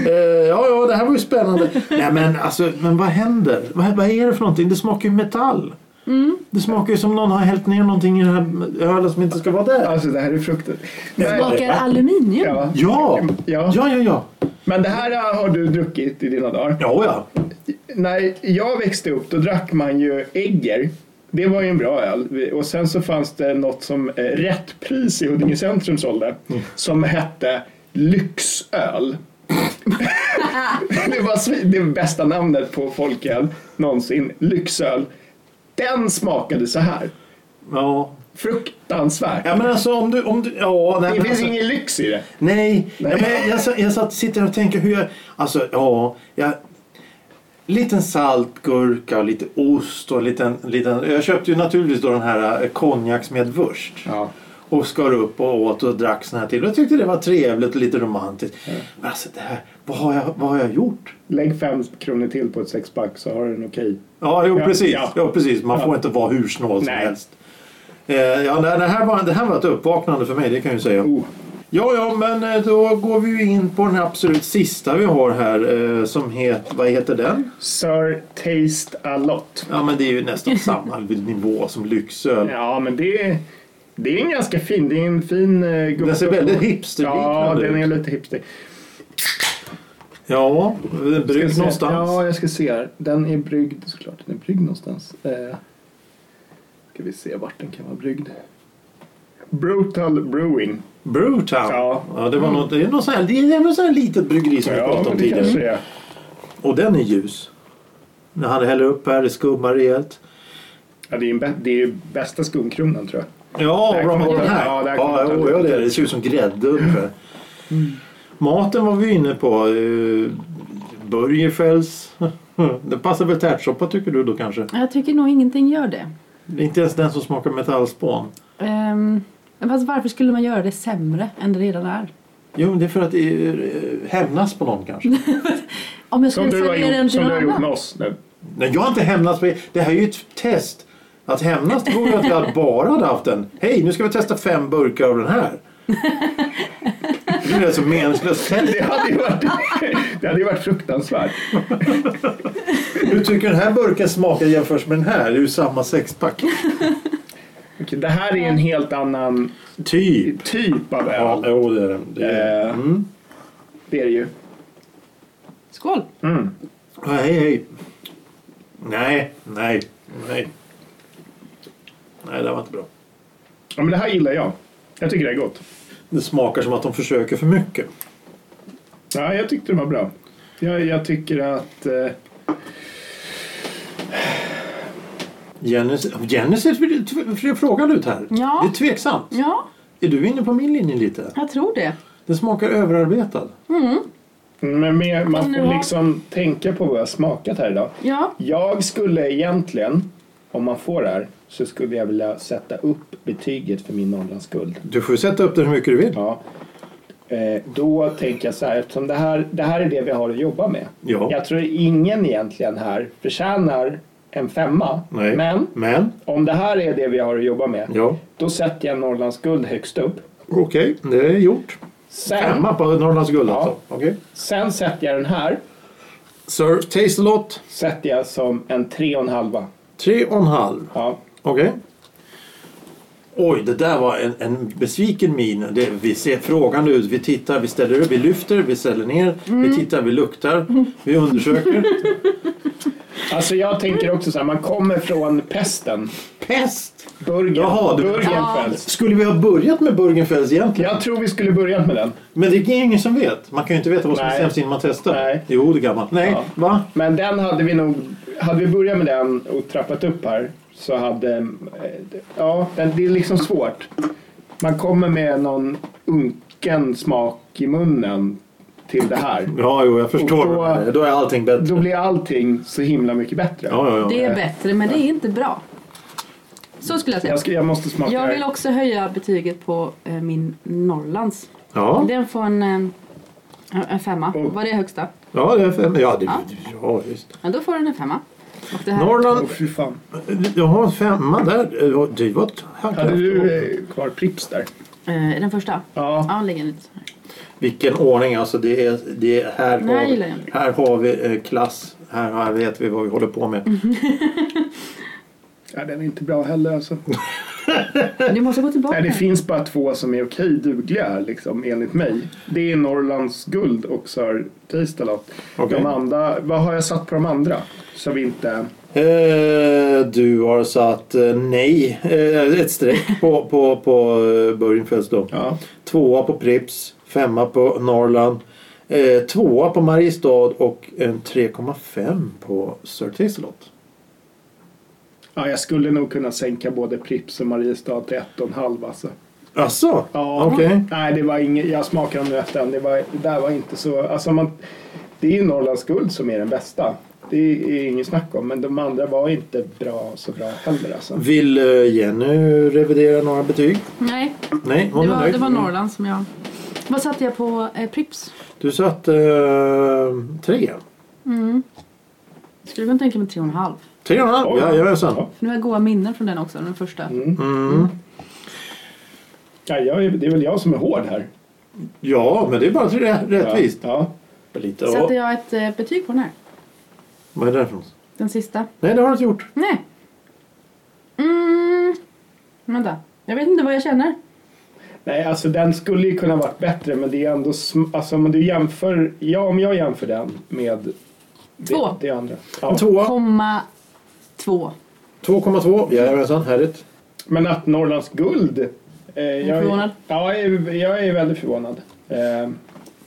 [SPEAKER 1] Eh, ja, ja, det här var ju spännande. Nej, men alltså, men vad händer? Vad, vad är det för någonting? Det smakar ju metall.
[SPEAKER 2] Mm.
[SPEAKER 1] Det smakar ju som någon har hällt ner någonting i den här ölen som inte ska vara där.
[SPEAKER 2] Alltså det här är fruktet.
[SPEAKER 1] Det
[SPEAKER 2] Men,
[SPEAKER 4] Smakar aluminium.
[SPEAKER 2] ja.
[SPEAKER 1] Ja! Ja,
[SPEAKER 2] Ja.
[SPEAKER 1] ja, ja.
[SPEAKER 2] Men det här har du druckit i dina dagar.
[SPEAKER 1] Ja, ja.
[SPEAKER 2] När jag växte upp då drack man ju Egger. Det var ju en bra öl. Och sen så fanns det något som eh, Rätt Pris i Huddinge Centrum sålde.
[SPEAKER 1] Mm.
[SPEAKER 2] Som hette Lyxöl. det var svi- det bästa namnet på folköl någonsin. Lyxöl. Den smakade så här.
[SPEAKER 1] Ja,
[SPEAKER 2] Fruktansvärt.
[SPEAKER 1] ja men alltså om du... Om du ja, nej,
[SPEAKER 2] Det
[SPEAKER 1] men
[SPEAKER 2] finns
[SPEAKER 1] alltså,
[SPEAKER 2] ingen lyx i det.
[SPEAKER 1] Nej, Ja, men jag, jag, satt- jag satt, sitter och tänker hur jag... Alltså, ja. Jag, liten saltgurka och lite ost och en liten, liten... Jag köpte ju naturligtvis då den här eh, konjaksmedvurst.
[SPEAKER 2] Ja.
[SPEAKER 1] Och skar upp och åt och drack sån här till. Och jag tyckte det var trevligt och lite romantiskt.
[SPEAKER 2] Ja.
[SPEAKER 1] Men alltså det här, vad har jag, vad har jag gjort?
[SPEAKER 2] Lägg fem kronor till på ett sexpack så har du en okej.
[SPEAKER 1] Ja, jo,
[SPEAKER 2] Ja,
[SPEAKER 1] precis. Ja.
[SPEAKER 2] ja.
[SPEAKER 1] precis. Man
[SPEAKER 2] Ja.
[SPEAKER 1] får inte vara hur snål som
[SPEAKER 2] Nej.
[SPEAKER 1] helst. Eh, ja, det, det, här var, det här var ett uppvaknande för mig, det kan jag ju säga.
[SPEAKER 2] Oh.
[SPEAKER 1] Ja, ja, men eh, då går vi ju in på den här absolut sista vi har här eh, som heter, vad heter den?
[SPEAKER 2] Sir Taste A Lot.
[SPEAKER 1] Ja, men det är ju nästan samma nivå som lyxöl.
[SPEAKER 2] Ja, men det är, det är en ganska fin. Det är en fin eh, gubbe.
[SPEAKER 1] Den ser väldigt hipsterliknande
[SPEAKER 2] Ja,
[SPEAKER 1] ut.
[SPEAKER 2] den är lite hipster.
[SPEAKER 1] Ja, den
[SPEAKER 2] Ska
[SPEAKER 1] bryggs
[SPEAKER 2] se.
[SPEAKER 1] någonstans.
[SPEAKER 2] Ja, jag ska se här. Den är bryggd såklart. Den är bryggd någonstans. Eh, ska vi se vart den kan vara bryggd. Brutal Brewing.
[SPEAKER 1] Brewtown. Ja.
[SPEAKER 2] Ja.
[SPEAKER 1] det var något, det är något sånt här, det är något sånt här litet bryggeri som vi pratade om
[SPEAKER 2] men det
[SPEAKER 1] tidigare.
[SPEAKER 2] kanske är.
[SPEAKER 1] Och den är ljus. När han häller upp här, det skummar rejält.
[SPEAKER 2] Ja, det är, en bä- det är ju bästa skumkronan tror jag.
[SPEAKER 1] Ja,
[SPEAKER 2] Där
[SPEAKER 1] bra
[SPEAKER 2] kommer
[SPEAKER 1] med den
[SPEAKER 2] den.
[SPEAKER 1] här.
[SPEAKER 2] Ja,
[SPEAKER 1] Ja,
[SPEAKER 2] där kommer den.
[SPEAKER 1] jo, ja, det, är det. det ser ut som grädde ungefär. Maten var vi inne på. eh, Burgerfels. Det passar väl tärtsoppa tycker du då kanske?
[SPEAKER 4] Jag tycker nog ingenting gör det.
[SPEAKER 1] Det är Inte ens den som smakar metallspån.
[SPEAKER 4] Ehm, fast varför skulle man göra det sämre än det redan är?
[SPEAKER 1] Jo, men det är för att det är, eh, hämnas på någon kanske.
[SPEAKER 4] Om jag
[SPEAKER 2] Som
[SPEAKER 4] skulle
[SPEAKER 2] du har
[SPEAKER 4] servera den
[SPEAKER 2] gjort,
[SPEAKER 4] till
[SPEAKER 2] som du har
[SPEAKER 4] någon
[SPEAKER 2] gjort med
[SPEAKER 4] annan.
[SPEAKER 2] oss nu.
[SPEAKER 1] Nej, jag har inte hämnats. på er. Det här är ju ett test. Att hämnas det vore ju att jag bara hade haft en. Hej, nu ska vi testa fem burkar av den här. Det är ju alltså meningslöst test.
[SPEAKER 2] Det hade ju varit, det hade ju varit fruktansvärt.
[SPEAKER 1] Hur tycker den här burken smakar jämfört med den här? Det är ju samma sexpack.
[SPEAKER 2] Okej, det här är en helt annan
[SPEAKER 1] Typ.
[SPEAKER 2] typ av
[SPEAKER 1] Ja,
[SPEAKER 2] öl.
[SPEAKER 1] jo, det är den. Det är... den.
[SPEAKER 2] Eh,
[SPEAKER 1] Mm.
[SPEAKER 2] Det är det ju.
[SPEAKER 4] Skål!
[SPEAKER 2] Mm.
[SPEAKER 1] Ja, Hej, hej. Nej, nej, nej. Nej, det här var inte bra.
[SPEAKER 2] Ja, men det här gillar jag. Jag tycker det är gott.
[SPEAKER 1] Det smakar som att de försöker för mycket.
[SPEAKER 2] Ja, jag tyckte det var bra. Jag, jag tycker att... Eh,
[SPEAKER 1] Jenny, Jenny ser tv- tv- frågad ut här.
[SPEAKER 4] Ja.
[SPEAKER 1] Det är tveksamt.
[SPEAKER 4] Ja,
[SPEAKER 1] Är du inne på min linje lite?
[SPEAKER 4] jag tror det.
[SPEAKER 1] Den smakar överarbetad.
[SPEAKER 2] mm, men mer, man
[SPEAKER 4] nu
[SPEAKER 2] får
[SPEAKER 4] har-
[SPEAKER 2] liksom tänka på vad jag har smakat här idag.
[SPEAKER 4] Ja,
[SPEAKER 2] Jag skulle egentligen, om man får det här, så skulle jag vilja sätta upp betyget för min Norrlandsguld.
[SPEAKER 1] Du får ju sätta upp den hur mycket du vill.
[SPEAKER 2] Ja. Eh, då tänker jag så här, eftersom det här, det här är det vi har att jobba med.
[SPEAKER 1] Ja.
[SPEAKER 2] Jag tror ingen egentligen här förtjänar en femma.
[SPEAKER 1] Nej.
[SPEAKER 2] Men
[SPEAKER 1] Men?
[SPEAKER 2] om det här är det vi har att jobba med,
[SPEAKER 1] Ja.
[SPEAKER 2] då sätter jag Norrlandsguld högst upp.
[SPEAKER 1] Okej, det är gjort.
[SPEAKER 2] Sen,
[SPEAKER 1] Femma på Norrlands guld
[SPEAKER 2] Ja.
[SPEAKER 1] alltså. Okej.
[SPEAKER 2] sen sätter jag den här
[SPEAKER 1] Sir, taste a lot.
[SPEAKER 2] sätter jag som en tre och en halva.
[SPEAKER 1] Tre och en halv.
[SPEAKER 2] Ja.
[SPEAKER 1] Okej. Oj, det där var en, en besviken min. Det, vi ser frågande ut. Vi tittar, vi ställer upp, vi lyfter, vi ställer ner.
[SPEAKER 2] Mm.
[SPEAKER 1] Vi tittar, vi luktar, vi undersöker.
[SPEAKER 2] Alltså jag tänker också så här, man kommer från pesten.
[SPEAKER 1] Pest!
[SPEAKER 2] Burgen.
[SPEAKER 1] Jaha, du-
[SPEAKER 2] Burgenfels.
[SPEAKER 1] Skulle vi ha börjat med Burgenfels egentligen?
[SPEAKER 2] Jag tror vi skulle börjat med den.
[SPEAKER 1] Men det är ingen som vet. Man kan ju inte veta vad som är
[SPEAKER 2] Nej.
[SPEAKER 1] sämst innan man testar.
[SPEAKER 2] Nej.
[SPEAKER 1] Jo, det kan man. Nej,
[SPEAKER 2] Ja.
[SPEAKER 1] va?
[SPEAKER 2] Men den hade vi nog... Hade vi börjat med den och trappat upp här så hade... eh, Ja, den, det är liksom svårt. Man kommer med någon unken smak i munnen till det här.
[SPEAKER 1] Ja, jo, jag förstår.
[SPEAKER 2] Och då-
[SPEAKER 1] då är allting bättre.
[SPEAKER 2] Då blir allting så himla mycket bättre.
[SPEAKER 1] Ja, ja, ja.
[SPEAKER 4] det är bättre men det är inte bra. Så skulle jag säga.
[SPEAKER 2] Jag, ska, jag måste smaka
[SPEAKER 4] Jag
[SPEAKER 2] det
[SPEAKER 4] vill
[SPEAKER 2] här.
[SPEAKER 4] också höja betyget på eh, min Norrlands.
[SPEAKER 1] Ja,
[SPEAKER 4] Den får en, eh, en femma.
[SPEAKER 2] Oh.
[SPEAKER 4] Var det högsta?
[SPEAKER 1] ja, det är fem. Ja, det,
[SPEAKER 4] Ja.
[SPEAKER 1] ja visst.
[SPEAKER 4] Ja, då får den en femma. Och det här,
[SPEAKER 2] Åh,
[SPEAKER 1] Norrland.
[SPEAKER 2] fy fan.
[SPEAKER 1] Jag har en femma där. Eh, Det var ett
[SPEAKER 2] Hade du
[SPEAKER 1] hackat.
[SPEAKER 2] eh, kvar Pripps där?
[SPEAKER 4] eh, den första? Ja,
[SPEAKER 2] Ja.
[SPEAKER 4] den ligger lite så här.
[SPEAKER 1] Vilken ordning alltså. Det är, det är, här,
[SPEAKER 4] Nej,
[SPEAKER 1] har,
[SPEAKER 4] gillar
[SPEAKER 1] vi-
[SPEAKER 4] jag inte.
[SPEAKER 1] här har vi eh, klass. Här, här vet vi vad vi håller på
[SPEAKER 2] Mm.
[SPEAKER 1] med.
[SPEAKER 2] ja. Den är inte bra heller alltså.
[SPEAKER 4] Du måste gå tillbaka.
[SPEAKER 2] Nej, det finns bara två som är okej dugliga här, liksom, enligt mig. Det är Norrlands guld och Sir Tastelot.
[SPEAKER 1] Okej.
[SPEAKER 2] De andra, vad har jag satt på de andra? Så vi inte...
[SPEAKER 1] Eh, du har satt eh, nej. Eh, ett streck på, på, på eh, Börjenfels då.
[SPEAKER 2] Ja.
[SPEAKER 1] Tvåa på Prips, femma på Norrland, eh, tvåa på Mariestad och en 3,5 på Sir Tisselot.
[SPEAKER 2] ja, jag skulle nog kunna sänka både Prips och Mariestad till ett och en halv alltså.
[SPEAKER 1] Jaså?
[SPEAKER 2] Ja.
[SPEAKER 1] Okej.
[SPEAKER 2] Nej, det var inget, jag smakade dem nu efter den. Det, var, det där var inte så... Alltså man, det är ju Norrlands guld som är den bästa. Det är inget snack om. Men de andra var inte bra så bra heller alltså.
[SPEAKER 1] Vill eh, Jenny revidera några betyg?
[SPEAKER 4] Nej,
[SPEAKER 1] Nej, hon
[SPEAKER 4] det
[SPEAKER 1] är
[SPEAKER 4] var,
[SPEAKER 1] nöjd.
[SPEAKER 4] det var Norrland som jag... Vad satte jag på eh, Prips?
[SPEAKER 1] Du satt eh, tre.
[SPEAKER 4] Mm. Skulle kunna tänka mig tre och en halv.
[SPEAKER 1] Tre och en halv,
[SPEAKER 2] Oj.
[SPEAKER 1] jajamensan.
[SPEAKER 2] Ja.
[SPEAKER 4] För nu har jag goda minnen från den också, den första.
[SPEAKER 2] Mm.
[SPEAKER 1] Mm.
[SPEAKER 2] Ja, jag, är- det är väl jag som är hård här.
[SPEAKER 1] Ja, men det är bara rä- rättvist.
[SPEAKER 2] Ja.
[SPEAKER 1] Lite.
[SPEAKER 4] Satte
[SPEAKER 1] Ja.
[SPEAKER 4] jag ett eh, betyg på den här?
[SPEAKER 1] Vad är det här för något?
[SPEAKER 4] Den sista?
[SPEAKER 1] Nej, det har du inte gjort.
[SPEAKER 4] Nej. Mm. Vänta. Jag vet inte vad jag känner.
[SPEAKER 2] ja. Nej, alltså den skulle ju kunna varit bättre men det är ändå... Sm- alltså om du jämför... Ja, om jag jämför den med... det-
[SPEAKER 4] Två.
[SPEAKER 2] Det andra. Ja.
[SPEAKER 1] Tvåa.
[SPEAKER 4] Komma två.
[SPEAKER 1] 2,2. Jajamensan, härligt.
[SPEAKER 2] Men att Norrlands guld... Eh, jag,
[SPEAKER 4] förvånad?
[SPEAKER 2] Ja, jag är, jag är väldigt förvånad. Eh,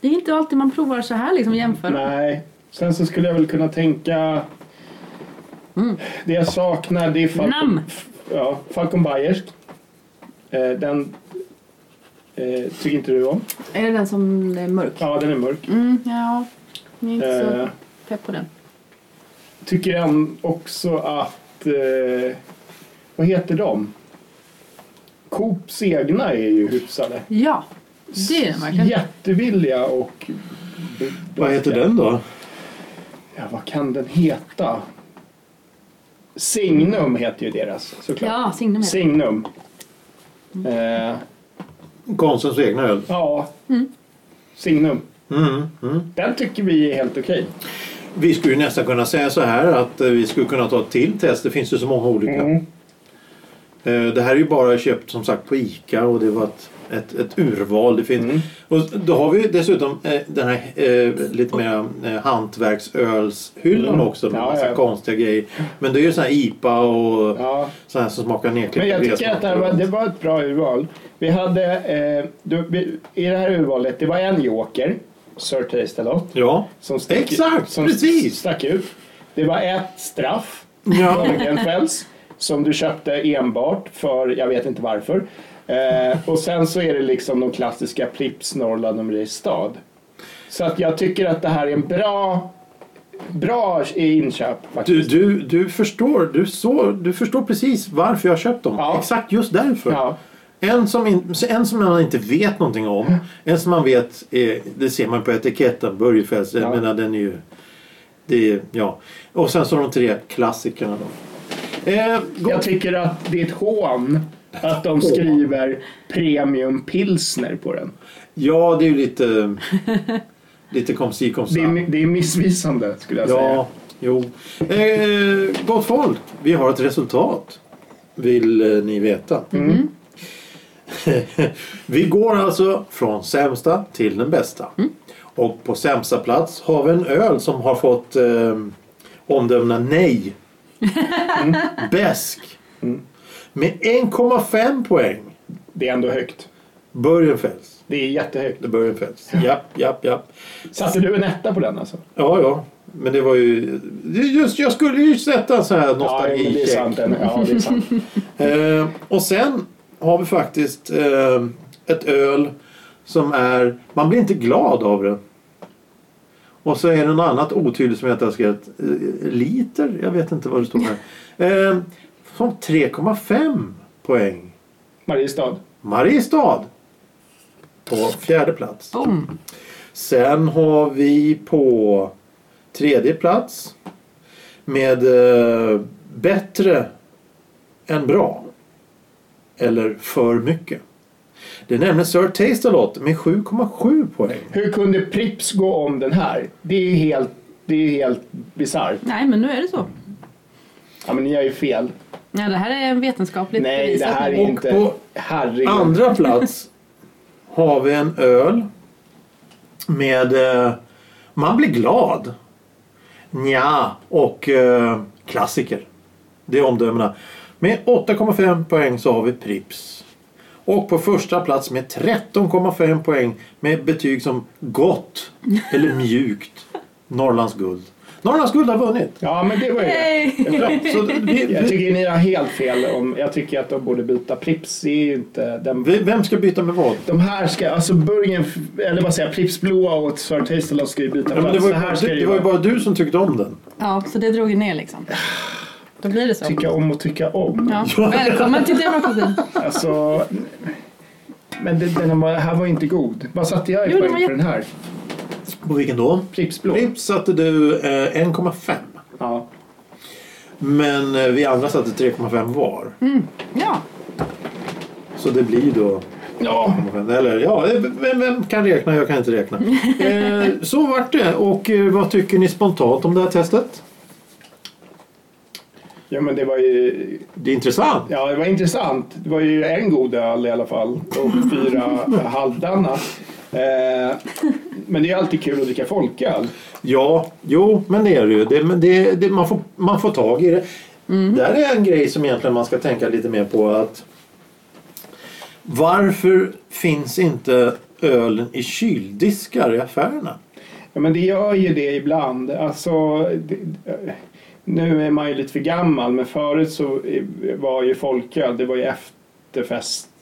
[SPEAKER 4] Det är inte alltid man provar så här liksom jämför.
[SPEAKER 2] nej. Sen så skulle jag väl kunna tänka...
[SPEAKER 4] Mm.
[SPEAKER 2] Det jag saknar det är
[SPEAKER 4] Namn.
[SPEAKER 2] Falcon, ja, Falcon Bayersk. Eh, den eh, tycker inte du om.
[SPEAKER 4] Är det den som är mörk?
[SPEAKER 2] Ja, den är mörk.
[SPEAKER 4] Mm, ja. Jag är inte så
[SPEAKER 2] Eh,
[SPEAKER 4] pepp på den.
[SPEAKER 2] tycker jag också att... Eh, vad heter de? Coops egna är ju hyfsade.
[SPEAKER 4] Ja, det är den verkligen.
[SPEAKER 2] Jättevilliga och...
[SPEAKER 1] Vad heter den då?
[SPEAKER 2] Ja, vad kan den heta? Signum heter ju deras såklart.
[SPEAKER 4] Ja, signum heter
[SPEAKER 2] Signum. Eh,
[SPEAKER 1] Konsums egna öl.
[SPEAKER 2] ja. Signum.
[SPEAKER 1] Mm, mm.
[SPEAKER 2] Den tycker vi är helt okej.
[SPEAKER 1] Vi skulle ju nästan kunna säga så här att eh, vi skulle kunna ta ett till test. Det finns ju så många olika.
[SPEAKER 2] Mm.
[SPEAKER 1] Eh, Det här är ju bara köpt som sagt på ICA och det var ett, ett, ett urval. Det finns,
[SPEAKER 2] Mm.
[SPEAKER 1] och då har vi ju dessutom eh, den här eh, lite mer eh, hantverksölshyllan
[SPEAKER 2] Mm.
[SPEAKER 1] också med
[SPEAKER 2] Ja,
[SPEAKER 1] massa
[SPEAKER 2] ja.
[SPEAKER 1] konstiga grejer. Men det är ju sån här IPA och
[SPEAKER 2] Ja.
[SPEAKER 1] sån här som smakar nerklippt
[SPEAKER 2] Men jag tycker
[SPEAKER 1] gräsmattor
[SPEAKER 2] att det, här var,
[SPEAKER 1] och-
[SPEAKER 2] det var ett bra urval. Vi hade, eh, du, vi, i det här urvalet, det var en joker, Sir Tastelot,
[SPEAKER 1] Ja,
[SPEAKER 2] som stack,
[SPEAKER 1] Exakt,
[SPEAKER 2] som
[SPEAKER 1] precis.
[SPEAKER 2] stack ut. Det var ett straff,
[SPEAKER 1] Ja.
[SPEAKER 2] Lagerfels, som du köpte enbart för, jag vet inte varför. Eh, och sen så är det liksom de klassiska Pripps, Norrland och Mariestad. Så att jag tycker att det här är en bra, bra inköp
[SPEAKER 1] du,
[SPEAKER 2] faktiskt.
[SPEAKER 1] du, du, förstår, du, så, du förstår precis varför jag har köpt dem.
[SPEAKER 2] Ja.
[SPEAKER 1] Exakt just därför.
[SPEAKER 2] Ja.
[SPEAKER 1] En som, in, en som man inte vet någonting om.
[SPEAKER 2] Mm.
[SPEAKER 1] En som man vet, är, det ser man på etiketten, Börjefels. Jag
[SPEAKER 2] Ja.
[SPEAKER 1] menar den är ju... Det är, ja. Och sen så de tre klassikerna då. Eh, gå-
[SPEAKER 2] Jag tycker att det är ett hån att de skriver premium pilsner på den.
[SPEAKER 1] ja, det är ju lite... lite kom si kom
[SPEAKER 2] Det
[SPEAKER 1] sa.
[SPEAKER 2] är, det är missvisande skulle jag säga.
[SPEAKER 1] Ja, jo. Eh, gott folk, vi har ett resultat. Vill eh, ni veta?
[SPEAKER 2] Mm.
[SPEAKER 1] vi går alltså från sämsta till den bästa.
[SPEAKER 2] Mm.
[SPEAKER 1] Och på sämsta plats har vi en öl som har fått eh, omdömena nej.
[SPEAKER 2] Mm.
[SPEAKER 1] Bäsk. Med 1,5 poäng.
[SPEAKER 2] Det är ändå högt.
[SPEAKER 1] Börjenfels.
[SPEAKER 2] Det är jättehögt.
[SPEAKER 1] Det är Börjenfels. Japp, japp, japp.
[SPEAKER 2] Satte du en etta på den alltså?
[SPEAKER 1] Ja, ja. Men det var ju... det är Just, jag skulle ju sätta en sån här
[SPEAKER 2] ja, men det är
[SPEAKER 1] nostalgicheck.
[SPEAKER 2] sant. den- Ja, det är sant.
[SPEAKER 1] eh, och sen har vi faktiskt eh, ett öl som är... Man blir inte glad av det. Och så är det något annat otydligt som jag inte har skrivit. Eh, liter? Jag vet inte vad det står här. Eh, som 3,5 poäng.
[SPEAKER 2] Mariestad.
[SPEAKER 1] Mariestad på fjärde plats.
[SPEAKER 4] Boom.
[SPEAKER 1] Sen har vi på tredje plats med eh, bättre än bra. Eller för mycket. Det är nämligen Sir Taste-A-Lot med 7,7 poäng.
[SPEAKER 2] Hur kunde Prips gå om den här? Det är helt, det är helt bisarrt.
[SPEAKER 4] Nej, men nu är det så.
[SPEAKER 2] Ja, men ni gör ju fel.
[SPEAKER 4] Ja, det här är en vetenskapligt
[SPEAKER 2] Nej, det
[SPEAKER 4] bevisat
[SPEAKER 2] här är
[SPEAKER 4] nivå.
[SPEAKER 1] Och
[SPEAKER 2] inte...
[SPEAKER 1] på
[SPEAKER 2] Herregud.
[SPEAKER 1] Andra plats har vi en öl med... Eh, man blir glad. Nja, och eh, klassiker. Det är omdömena. Med 8,5 poäng så har vi Prips. Och på första plats med 13,5 poäng med betyg som gott eller mjukt. Norrlands guld. Norrlands guld har vunnit!
[SPEAKER 2] Ja, men det var ju det.
[SPEAKER 4] Hej!
[SPEAKER 1] Bra. Så vi,
[SPEAKER 2] Jag
[SPEAKER 1] vi,
[SPEAKER 2] tycker ni har helt fel. Om, jag tycker att de borde byta. Prips är ju inte... Den,
[SPEAKER 1] vi, vem ska byta med vad?
[SPEAKER 2] de här ska... Alltså Burgen, eller vad säger jag, Pripps blåa och Sir Tastelof ska ju
[SPEAKER 1] Ja,
[SPEAKER 2] byta
[SPEAKER 1] men det,
[SPEAKER 2] plats.
[SPEAKER 1] var
[SPEAKER 2] Så
[SPEAKER 1] ju,
[SPEAKER 2] här
[SPEAKER 1] bara-
[SPEAKER 2] ska
[SPEAKER 1] det,
[SPEAKER 2] det ju
[SPEAKER 1] var ju
[SPEAKER 2] vara.
[SPEAKER 1] bara du som tyckte om den.
[SPEAKER 4] Ja, så det drog ju ner liksom. Då blir det så.
[SPEAKER 2] Tycka om och tycka om.
[SPEAKER 4] Ja. Välkommen till demokratin.
[SPEAKER 2] Alltså... Men det, den här- här var ju inte god. Vad satte jag i
[SPEAKER 4] Jo, den
[SPEAKER 2] poäng
[SPEAKER 4] var
[SPEAKER 2] för den här?
[SPEAKER 1] Och vilken då?
[SPEAKER 2] Pripps blå?
[SPEAKER 1] Pripps satte du eh, 1,5.
[SPEAKER 2] Ja.
[SPEAKER 1] Men eh, vi andra satte 3,5 var.
[SPEAKER 4] Ja,
[SPEAKER 1] Så det blir då
[SPEAKER 2] Ja,
[SPEAKER 1] Eller ja, eh, vem, vem kan räkna? Jag kan inte räkna. Eh, så vart det. Och eh, vad tycker ni spontant om det här testet?
[SPEAKER 2] ja men det var ju...
[SPEAKER 1] Det är intressant.
[SPEAKER 2] Ja, det var intressant. Det var ju en god öl i alla fall och fyra halvdana. Eh, men det är alltid kul att dricka folköl.
[SPEAKER 1] Ja, jo, men det är det ju. Det, men det, det, man, får, man får tag i det. Där är en grej som egentligen man ska tänka lite mer på. att Varför finns inte ölen i kyldiskar i affärerna?
[SPEAKER 2] Ja, men det gör ju det ibland. Alltså, det, nu är man ju lite för gammal, men förut så var ju folköl, det var ju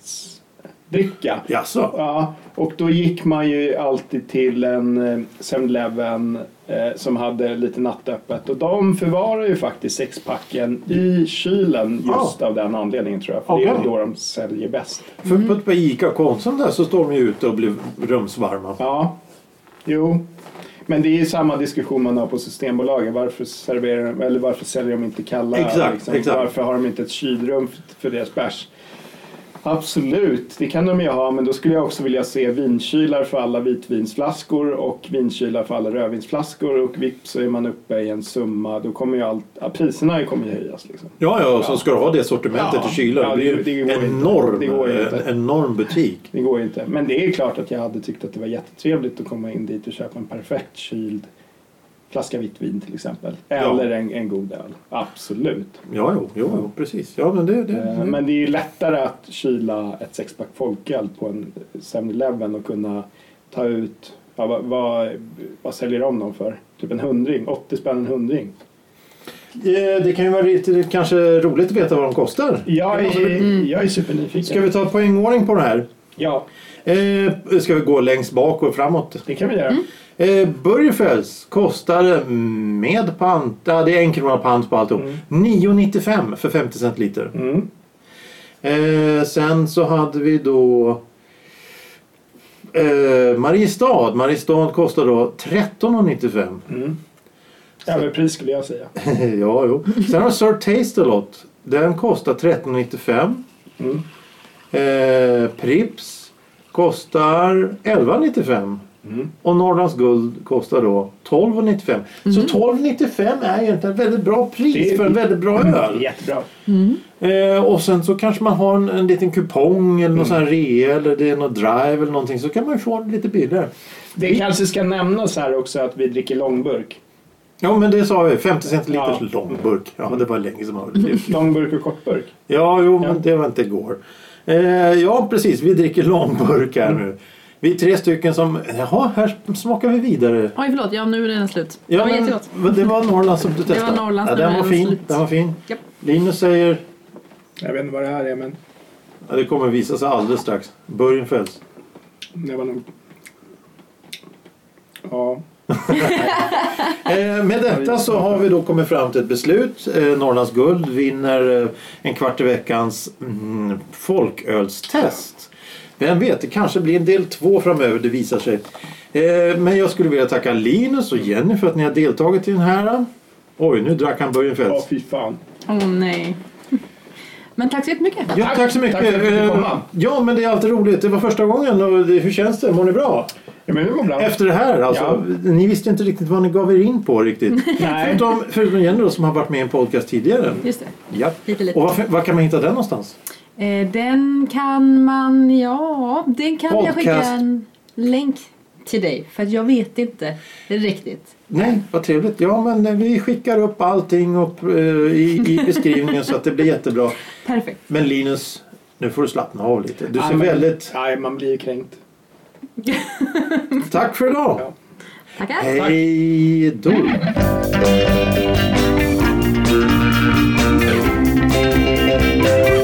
[SPEAKER 2] efterfestdricka.
[SPEAKER 1] Jaså?
[SPEAKER 2] Ja, och då gick man ju alltid till en eh, 7-Eleven eh, som hade lite nattöppet. Och de förvarar ju faktiskt sexpacken i kylen just av den anledningen tror jag. För det är
[SPEAKER 1] Okej.
[SPEAKER 2] då de säljer bäst.
[SPEAKER 1] För på ett par ICA och Konsum där så står de ju ute och blir rumsvarma.
[SPEAKER 2] Ja, jo. Men det är ju samma diskussion man har på Systembolaget. Varför, serverar de, eller varför säljer de inte kalla? liksom?
[SPEAKER 1] Exakt, exakt.
[SPEAKER 2] Varför har de inte ett kylrum för- för deras bärs? Absolut, det kan de ju ha, men då skulle jag också vilja se vinkylar för alla vitvinsflaskor och vinkylar för alla rödvinsflaskor och vips så är man uppe i en summa. Då kommer ju allt, ja, priserna kommer ju höjas. Liksom.
[SPEAKER 1] Ja, ja, och så ska du ha det sortimentet
[SPEAKER 2] Ja.
[SPEAKER 1] i kylen.
[SPEAKER 2] Ja,
[SPEAKER 1] det blir
[SPEAKER 2] det- det
[SPEAKER 1] ju
[SPEAKER 2] går
[SPEAKER 1] en
[SPEAKER 2] inte.
[SPEAKER 1] enorm,
[SPEAKER 2] Det går inte.
[SPEAKER 1] en enorm butik.
[SPEAKER 2] Det går ju inte. Men det är klart att jag hade tyckt att det var jättetrevligt att komma in dit och köpa en perfekt kyld flaska vitt vin till exempel. Eller en, en god öl. Absolut.
[SPEAKER 1] Ja, jo, jo, jo precis. Ja, men det, det,
[SPEAKER 2] Eh, Men det är ju lättare att kyla ett sexpack folköl på en 7-Eleven och kunna ta ut Ja, vad, vad, vad säljer de dem för? Typ en hundring? 80 spänn en hundring?
[SPEAKER 1] Eh, Det kan ju vara lite, kanske roligt att veta vad de kostar.
[SPEAKER 2] Jag är, jag är supernyfiken.
[SPEAKER 1] Ska vi ta poängordning på det här?
[SPEAKER 2] Ja,
[SPEAKER 1] Eh, ska vi gå längst bak och framåt?
[SPEAKER 2] det kan vi göra.
[SPEAKER 1] Eh, Burgerfels kostar mm, med pant, ja, det är en krona pant på alltihop, 9,95 för 50 centiliter.
[SPEAKER 2] Mm.
[SPEAKER 1] Eh, sen så hade vi då eh, Mariestad. Mariestad kostar då 13,95.
[SPEAKER 2] mm. Överpris skulle jag säga.
[SPEAKER 1] ja, jo. Sen har Sir Taste-A-Lot. Den kostar 13,95.
[SPEAKER 2] Mm.
[SPEAKER 1] Eh, Prips kostar 11,95.
[SPEAKER 2] Mm.
[SPEAKER 1] Och Norrlands guld kostar då 12,95. Så 12,95 är egentligen ett väldigt bra pris
[SPEAKER 2] Det är-
[SPEAKER 1] för en väldigt bra öl.
[SPEAKER 2] Jättebra.
[SPEAKER 1] Eh, och sen så kanske man har en, en liten kupong eller någon
[SPEAKER 2] Mm.
[SPEAKER 1] sån här rea eller det är någon drive eller någonting så kan man ju få det lite billigare.
[SPEAKER 2] Det kanske ska nämnas här också att vi dricker långburk.
[SPEAKER 1] Ja men det sa vi, 50 centiliters
[SPEAKER 2] Ja. Mm.
[SPEAKER 1] lång burk. Ja det var länge som man
[SPEAKER 4] Mm.
[SPEAKER 1] hörde det.
[SPEAKER 2] Långburk och kortburk.
[SPEAKER 1] Ja jo
[SPEAKER 2] Ja.
[SPEAKER 1] men det var inte igår. Eh, ja precis, vi dricker långburk här
[SPEAKER 2] Mm.
[SPEAKER 1] nu. Vi är tre stycken som, jaha här smakar vi vidare.
[SPEAKER 4] Oj förlåt, ja nu är den slut.
[SPEAKER 1] Ja,
[SPEAKER 4] det var
[SPEAKER 1] men-
[SPEAKER 4] jättegott.
[SPEAKER 1] men det var Norrland som du testade.
[SPEAKER 4] var Norrland
[SPEAKER 1] ja,
[SPEAKER 4] som
[SPEAKER 1] den
[SPEAKER 4] är
[SPEAKER 1] var fin.
[SPEAKER 4] slut.
[SPEAKER 1] Den var fin.
[SPEAKER 4] Japp.
[SPEAKER 1] Linus säger,
[SPEAKER 2] Jag vet inte vad det här är men
[SPEAKER 1] ja, det kommer visa sig alldeles strax. Burgen fälls.
[SPEAKER 2] det var nog... Ja.
[SPEAKER 1] Eh, Med detta så har vi då kommit fram till ett beslut. Eh, Norrlands guld vinner eh, en kvart i veckans mm, folkölstest. Vem vet, det kanske blir en del två framöver, det visar sig. Eh, Men jag skulle vilja tacka Linus och Jenny för att ni har deltagit i den här. Oj, nu drack han
[SPEAKER 2] Ja,
[SPEAKER 1] Börjenfeldts.
[SPEAKER 2] fy fan.
[SPEAKER 4] Åh nej. Men tack så jättemycket.
[SPEAKER 1] Ja,
[SPEAKER 2] Tack.
[SPEAKER 1] tack så mycket.
[SPEAKER 2] Tack för att vi fick
[SPEAKER 1] Eh,
[SPEAKER 2] komma.
[SPEAKER 1] Ja, men det är alltid roligt. Det var första gången. Och det- hur känns det? Mår ni bra?
[SPEAKER 2] Ja, men det var bra.
[SPEAKER 1] Efter det här alltså. Ni visste inte riktigt vad ni gav er in på riktigt.
[SPEAKER 2] Nej.
[SPEAKER 1] Förutom, förutom Jenny då, som har varit med i en podcast tidigare.
[SPEAKER 4] Just det.
[SPEAKER 1] Ja.
[SPEAKER 4] Lite, lite.
[SPEAKER 1] Och var, var kan man hitta den någonstans?
[SPEAKER 4] Eh, Den kan man, ja, den kan jag
[SPEAKER 1] Podcast.
[SPEAKER 4] skicka en länk till dig. För att jag vet inte riktigt.
[SPEAKER 1] Nej, vad trevligt. Ja, men eh, vi skickar upp allting upp, eh, i, i beskrivningen så att det blir jättebra.
[SPEAKER 4] Perfekt.
[SPEAKER 1] Men Linus, nu får du slappna av lite. Du
[SPEAKER 2] Ja,
[SPEAKER 1] ser
[SPEAKER 2] men-
[SPEAKER 1] väldigt...
[SPEAKER 2] Nej, man blir ju kränkt.
[SPEAKER 1] Tack för idag!
[SPEAKER 2] Ja.
[SPEAKER 4] Tackar.
[SPEAKER 1] Hej då!
[SPEAKER 3] Thank you.